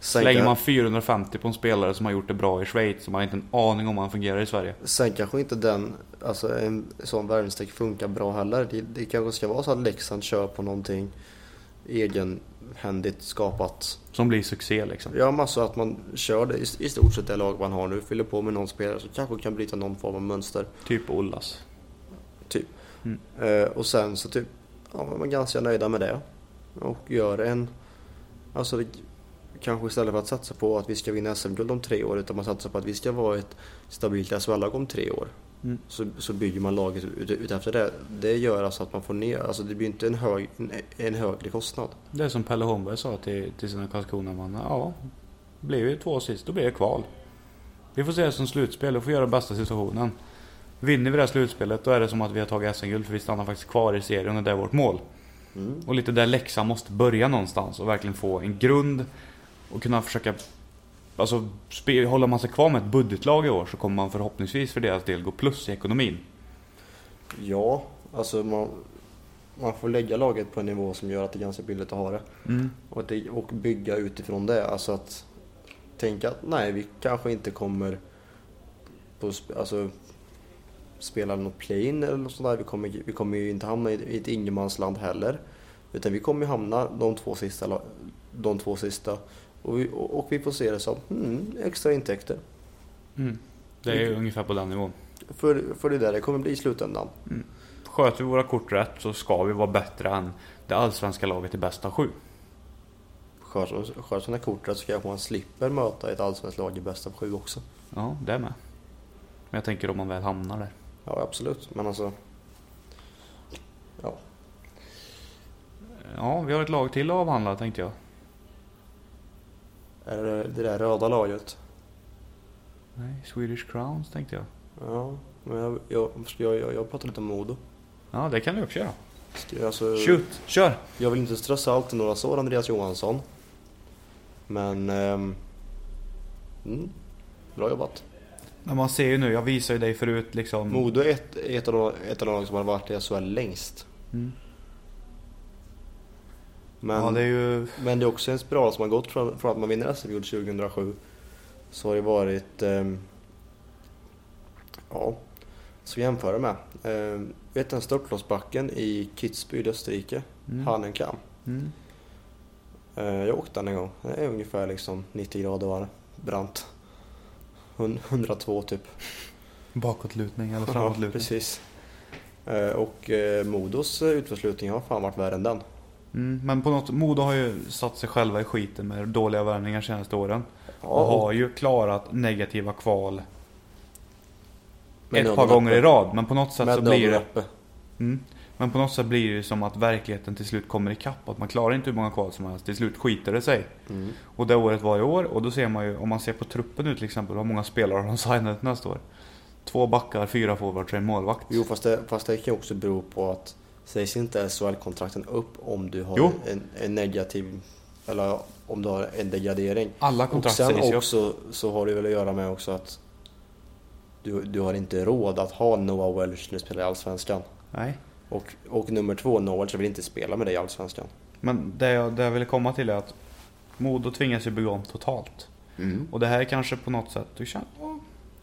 Speaker 3: Slänger man 450 på en spelare som har gjort det bra i Schweiz som man inte har en aning om hur han fungerar i Sverige.
Speaker 2: Sen kanske inte den, alltså en sån värvningstech funkar bra heller. Det, det kanske ska vara så att Leksand kör på någonting egenhändigt skapat.
Speaker 3: Som blir succé liksom.
Speaker 2: Ja, men alltså att man kör det i, i stort sett det lag man har nu. Fyller på med någon spelare som kanske kan bryta någon form av mönster.
Speaker 3: Typ Ollas.
Speaker 2: Typ.
Speaker 3: Mm.
Speaker 2: Eh, och sen så typ, ja men man är ganska nöjda med det. Och gör en, alltså det, kanske istället för att satsa på att vi ska vinna SM-guld om tre år utan man satsar på att vi ska vara ett stabilt SHL-lag om tre år.
Speaker 3: Mm.
Speaker 2: Så, så bygger man laget ut, ut efter det. Det gör alltså att man får ner, alltså det blir inte en, hög, en, en högre kostnad.
Speaker 3: Det är som Pelle Holmberg sa till, till sina Karlskronamannar. Ja, blir vi två sist då blir det kval. Vi får se det som slutspel och får göra bästa situationen. Vinner vi det här slutspelet då är det som att vi har tagit SM-guld för vi stannar faktiskt kvar i serien och det är vårt mål. Och lite där läxan måste börja någonstans och verkligen få en grund och kunna försöka Alltså spe, håller man sig kvar med ett budgetlag i år så kommer man förhoppningsvis för deras del gå plus i ekonomin.
Speaker 2: Ja, alltså man, man får lägga laget på en nivå som gör att det är ganska billigt att ha det. Och, det, och bygga utifrån det. Alltså att tänka att nej, vi kanske inte kommer på, sp- alltså, spela något play-in eller något sånt där. Vi kommer, vi kommer ju inte hamna i, i ett ingenmansland heller. Utan vi kommer ju hamna de två sista. la- De två sista. Och vi, och, och vi får se det som hmm, extra intäkter.
Speaker 3: Det är ju ungefär på den nivån.
Speaker 2: För, för det är där det kommer bli i slutändan.
Speaker 3: Sköter vi våra kort rätt så ska vi vara bättre än det allsvenska laget i bästa sju.
Speaker 2: Skär skär sina kort rätt så kanske man slipper möta ett allsvenskt lag i bästa av sju också.
Speaker 3: Ja, det med. Men jag tänker om man väl hamnar där.
Speaker 2: Ja, absolut. Men alltså... Ja.
Speaker 3: Ja, vi har ett lag till att avhandla tänkte jag.
Speaker 2: Är det det där röda laget?
Speaker 3: Nej, Swedish Crowns tänkte jag.
Speaker 2: Ja, men jag, jag, ska jag, jag, jag pratar lite om Modo.
Speaker 3: Ja, det kan du också göra.
Speaker 2: Ska jag- Alltså,
Speaker 3: Shoot, kör!
Speaker 2: jag vill inte stressa allt till några sår, Andreas Johansson. Men... ehm, mm, bra jobbat.
Speaker 3: Men man ser ju nu, jag visade ju dig förut liksom.
Speaker 2: Modo är ett, är ett, av de, ett av de lag som har varit i SHL längst.
Speaker 3: Mm.
Speaker 2: Men,
Speaker 3: Ja, det är ju...
Speaker 2: men det är också en spiral som har gått från, från att man vinner SM-guld 2007. Så har det varit... ehm, Ja, ska vi jämföra med. Eh, vet du den störtloppsbacken i Kitzbühel i Österrike?
Speaker 3: Mm.
Speaker 2: Hahnenkamm.
Speaker 3: Mm.
Speaker 2: Eh, jag åkte den en gång. Den är ungefär liksom 90 grader var brant. Hun- 102 typ.
Speaker 3: Bakåtlutning eller
Speaker 2: Ja,
Speaker 3: framåtlutning.
Speaker 2: precis. Eh, och eh, Modos eh, utförslutning har fan varit värre än den.
Speaker 3: Mm, men på något Modo har ju satt sig själva i skiten med dåliga värvningar senaste åren. Och
Speaker 2: Ja,
Speaker 3: har ju klarat negativa kval
Speaker 2: men
Speaker 3: ett par
Speaker 2: nöden
Speaker 3: gånger i
Speaker 2: uppe.
Speaker 3: rad. Men på något sätt
Speaker 2: Med
Speaker 3: så blir
Speaker 2: nöden
Speaker 3: det...
Speaker 2: uppe.
Speaker 3: Mm, men på något sätt blir det ju som att verkligheten till slut kommer ikapp. Att man klarar inte hur många kval som helst. Till slut skiter det sig.
Speaker 2: Mm.
Speaker 3: Och det året var i år. Och då ser man ju, om man ser på truppen nu till exempel. Hur många spelare har de signat nästa år? Två backar, fyra forwards och en målvakt.
Speaker 2: Jo, fast det, fast det kan ju också bero på att sägs inte SHL-kontrakten upp om du har
Speaker 3: Jo.
Speaker 2: en, en negativ eller om du har en degradering.
Speaker 3: Alla
Speaker 2: Och
Speaker 3: kontrakt
Speaker 2: sen
Speaker 3: sägs ju upp.
Speaker 2: också så har det väl att göra med också att du, du har inte råd att ha Noah Welch när du spelar i Allsvenskan.
Speaker 3: Nej.
Speaker 2: Och, och nummer två, Noah Welch vill inte spela med dig i Allsvenskan.
Speaker 3: Men det jag, det jag ville komma till är att Modo tvingas ju bygga om totalt.
Speaker 2: Mm.
Speaker 3: Och det här är kanske på något sätt, du känner, "Åh,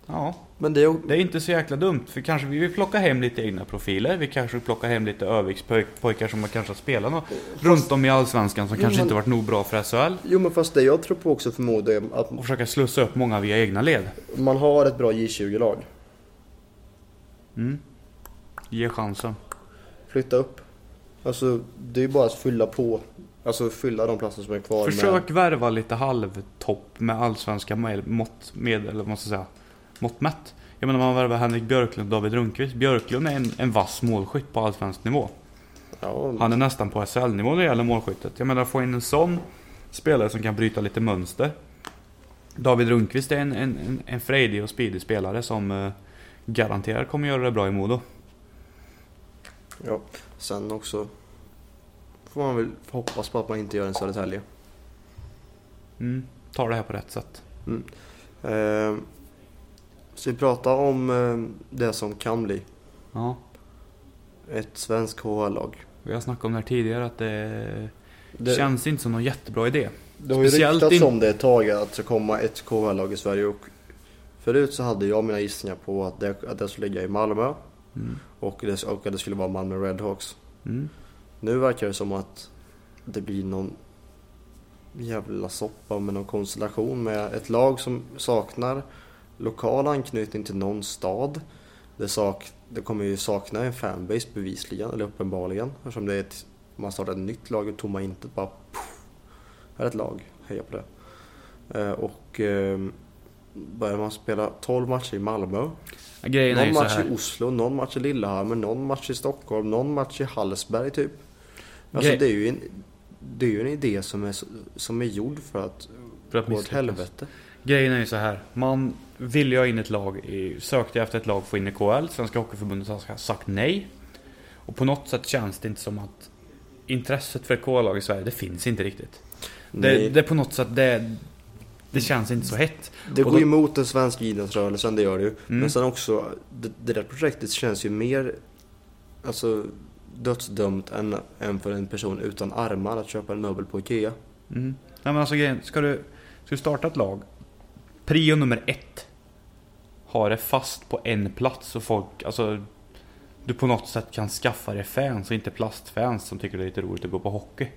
Speaker 3: ja.
Speaker 2: Men det är ju-
Speaker 3: Det är inte så jäkla dumt, för kanske vi vill plocka hem lite egna profiler. Vi kanske vill plocka hem lite Övikspojkar som har kanske har spelat något runt om i Allsvenskan som
Speaker 2: Jo,
Speaker 3: kanske
Speaker 2: men-
Speaker 3: inte varit nog bra för SHL.
Speaker 2: Jo men fast det jag tror på också förmodligen att
Speaker 3: Och försöka slussa upp många via egna led.
Speaker 2: man har ett bra J20-lag.
Speaker 3: Mm. Ge chansen.
Speaker 2: Flytta upp. Alltså det är ju bara att fylla på. Alltså fylla de platser som är kvar med...
Speaker 3: Försök värva lite halvtopp med allsvenska mel- mått med, eller vad man ska säga, mått mätt. Jag menar man värvar Henrik Björklund och David Rundqvist. Björklund är en, en vass målskytt på allsvensk nivå.
Speaker 2: Ja,
Speaker 3: Han är nästan på SHL-nivå när det gäller målskyttet. Jag menar få in en sån spelare som kan bryta lite mönster. David Rundqvist är en, en, en, en frejdig och speedig spelare som eh, garanterat kommer göra det bra i Modo.
Speaker 2: ja. Sen också får man väl hoppas på att man inte gör en Södertälje.
Speaker 3: Mm. Tar det här på rätt sätt.
Speaker 2: Eh, så vi pratar om eh, det som kan bli
Speaker 3: Ja.
Speaker 2: ett svenskt HL-lag.
Speaker 3: Vi har snackat om det här tidigare att det,
Speaker 2: Det,
Speaker 3: känns inte som någon jättebra idé.
Speaker 2: det har ju
Speaker 3: speciellt
Speaker 2: ryktats
Speaker 3: in-
Speaker 2: om det ett tag att det ska komma ett KHL-lag i Sverige. Och förut så hade jag mina gissningar på att det, att det skulle ligga i Malmö
Speaker 3: Mm.
Speaker 2: och, det, och att det skulle vara Malmö Redhawks.
Speaker 3: Mm.
Speaker 2: Nu verkar det som att det blir någon jävla soppa med någon konstellation med ett lag som saknar lokal anknytning till någon stad. Det, sak, det kommer ju sakna en fanbase bevisligen, eller uppenbarligen. Eftersom det är ett, man startar ett nytt lag och tomma inte bara poff, här är ett lag, heja på det. Eh, och eh, börjar man spela 12 matcher i Malmö
Speaker 3: Grejen är
Speaker 2: någon
Speaker 3: ju så
Speaker 2: match
Speaker 3: här.
Speaker 2: i Oslo, någon match i Lillehammer, någon match i Stockholm, någon match i Hallsberg typ. Alltså
Speaker 3: Gre-
Speaker 2: det är ju en, det är ju en idé som är, så- som är gjord för att
Speaker 3: För att
Speaker 2: gå åt
Speaker 3: misslyckas.
Speaker 2: helvete.
Speaker 3: Grejen är ju så här. Man ville ju ha in ett lag i, sökte jag efter ett lag för in i KL. Svenska Hockeyförbundet har sagt nej. Och på något sätt känns det inte som att intresset för ett KL-lag i Sverige, det finns inte riktigt. Det,
Speaker 2: Nej,
Speaker 3: det är på något sätt, det, det känns inte så hett.
Speaker 2: det går
Speaker 3: och då-
Speaker 2: ju emot den svenska idrottsrörelsen, det gör det ju.
Speaker 3: Mm.
Speaker 2: Men sen också, det, det där projektet känns ju mer alltså, dödsdömt än, än för en person utan armar att köpa en möbel på Ikea.
Speaker 3: Mm. Nej men alltså grejen, ska du, ska du starta ett lag. Prio nummer ett. Ha det fast på en plats så folk, alltså. Du på något sätt kan skaffa dig fans och inte plastfans som tycker det är lite roligt att gå på hockey.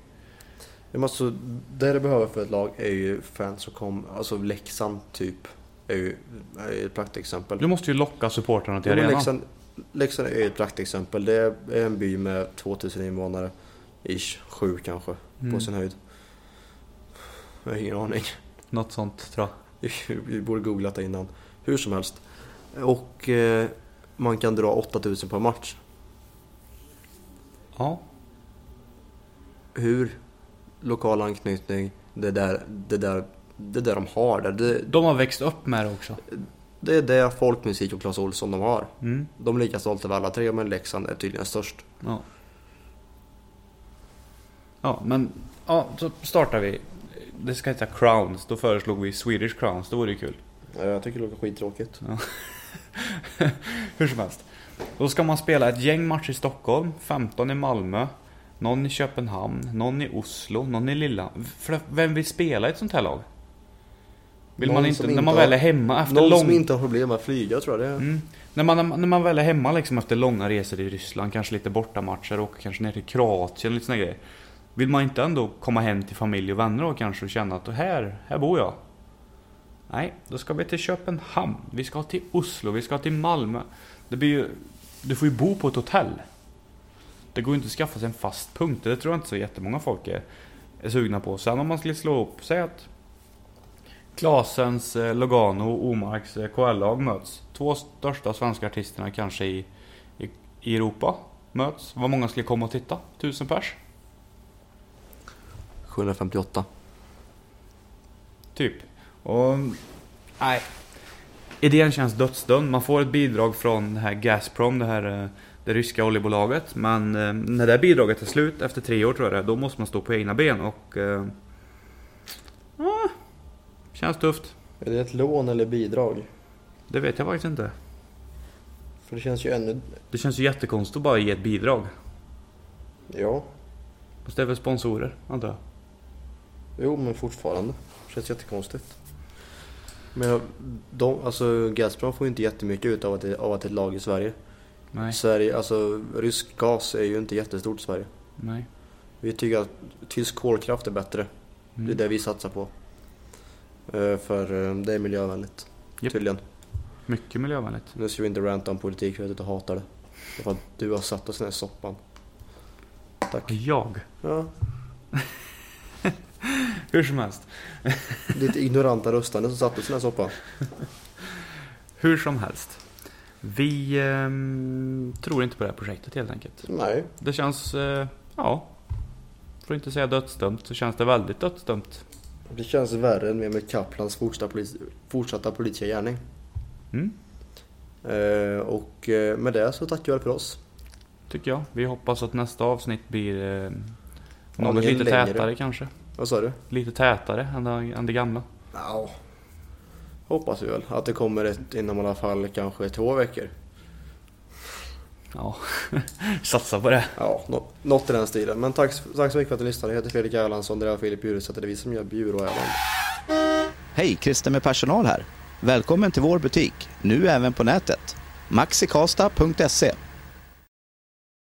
Speaker 2: Det, måste, alltså, det det behöver för ett lag är ju fans som kommer, alltså Leksand typ, är ju är ju ett praktexempel.
Speaker 3: Du måste ju locka supportrarna till
Speaker 2: Jo, men
Speaker 3: arenan.
Speaker 2: Leksand, Leksand är ju ett praktexempel. Det är en by med 2000 invånare. Ish, sju kanske
Speaker 3: Mm.
Speaker 2: på sin höjd. Jag har ingen aning.
Speaker 3: Något sånt tror jag.
Speaker 2: Vi borde googlat det innan. Hur som helst. Och eh, man kan dra 8000 per match.
Speaker 3: Ja.
Speaker 2: Hur? Lokal anknytning. Det där, det där, det där de har där. Det,
Speaker 3: De har växt upp med det också.
Speaker 2: det är det folkmusik och Clas Ohlson de har.
Speaker 3: Mm.
Speaker 2: De är lika stolta över alla tre men Leksand är tydligen störst.
Speaker 3: Ja. Ja, men ja, så startar vi. Det ska heta Crowns. Då föreslog vi Swedish Crowns. Det vore ju kul.
Speaker 2: Jag tycker det låter skittråkigt.
Speaker 3: Hur som helst. Då ska man spela ett gäng matcher i Stockholm, 15 i Malmö, någon i Köpenhamn, någon i Oslo, någon i Lilla. För vem vill spela i ett sånt här lag? Vill
Speaker 2: Någon
Speaker 3: man
Speaker 2: som
Speaker 3: inte, när
Speaker 2: inte
Speaker 3: man
Speaker 2: har-
Speaker 3: väl är hemma efter
Speaker 2: Någon
Speaker 3: lång...
Speaker 2: som inte har problem med att flyga tror jag det är.
Speaker 3: Mm. När, man, när man väl är hemma liksom efter långa resor i Ryssland, kanske lite bortamatcher och kanske ner till Kroatien lite såna grejer. Vill man inte ändå komma hem till familj och vänner och kanske och känna att här, här bor jag? Nej, då ska vi till Köpenhamn, vi ska till Oslo, vi ska till Malmö. Det blir ju, du får ju bo på ett hotell. Det går ju inte att skaffa sig en fast punkt, det tror jag inte så jättemånga folk är, är sugna på. Sen om man skulle slå ihop, säg att Klasens, eh, Logano och Omarks eh, KL-lag möts. Två största svenska artisterna kanske i, i, i Europa möts. Vad många skulle komma och titta? Tusen pers?
Speaker 2: 758.
Speaker 3: Typ. Och... Nej. Idén känns dödsdömd. Man får ett bidrag från det här Gazprom, det här eh, det ryska oljebolaget. Men eh, när det här bidraget är slut, efter tre år tror jag det är, då måste man stå på egna ben och... Eh, ah, känns tufft.
Speaker 2: Är det ett lån eller bidrag?
Speaker 3: Det vet jag faktiskt inte.
Speaker 2: För det känns ju ännu...
Speaker 3: Det känns ju jättekonstigt att bara ge ett bidrag.
Speaker 2: Ja.
Speaker 3: Fast det är väl sponsorer, antar jag.
Speaker 2: Jo, men fortfarande. Känns jättekonstigt. Men jag- de, alltså Gazprom får ju inte jättemycket ut av att, det, av att det är ett lag i Sverige.
Speaker 3: Nej,
Speaker 2: Sverige, alltså rysk gas är ju inte jättestort i Sverige.
Speaker 3: nej.
Speaker 2: Vi tycker att tysk kolkraft är bättre.
Speaker 3: Mm.
Speaker 2: Det är det vi satsar på. Eh, För eh, det är miljövänligt.
Speaker 3: Japp.
Speaker 2: Tydligen.
Speaker 3: Mycket miljövänligt.
Speaker 2: Nu ska vi inte ranta om politik för jag vet att du hatar det. Det är för att du har satt oss i den här soppan. Tack.
Speaker 3: Jag?
Speaker 2: Ja,
Speaker 3: Hur som helst.
Speaker 2: ditt ignoranta röstande som satt oss i den här soppan.
Speaker 3: Hur som helst. Vi ehm, tror inte på det här projektet helt enkelt.
Speaker 2: Nej.
Speaker 3: Det känns, eh, ja. För att inte säga dödsdömt så känns det väldigt dödsdömt.
Speaker 2: Det känns värre än med Kaplans fortsatta, polis, fortsatta politiska gärning.
Speaker 3: Mm,
Speaker 2: Eh, och eh, med det så tackar vi väl för oss.
Speaker 3: tycker jag. Vi hoppas att nästa avsnitt blir eh, något
Speaker 2: Aningen
Speaker 3: lite
Speaker 2: längre.
Speaker 3: tätare kanske.
Speaker 2: Vad sa du?
Speaker 3: Lite tätare än det, än det gamla.
Speaker 2: Ja. Hoppas vi väl att det kommer ett inom i alla fall kanske två veckor.
Speaker 3: Ja, satsa på det.
Speaker 2: Ja, nå- något i den stilen. Men tack, tack så mycket för att ni lyssnade. Jag heter Fredrik Erlandsson, det är Filip Bjuresäter, det är vi som gör Bjurå Erland.
Speaker 1: Hej, Christer med personal här. Välkommen till vår butik, nu även på nätet. maxikasta.se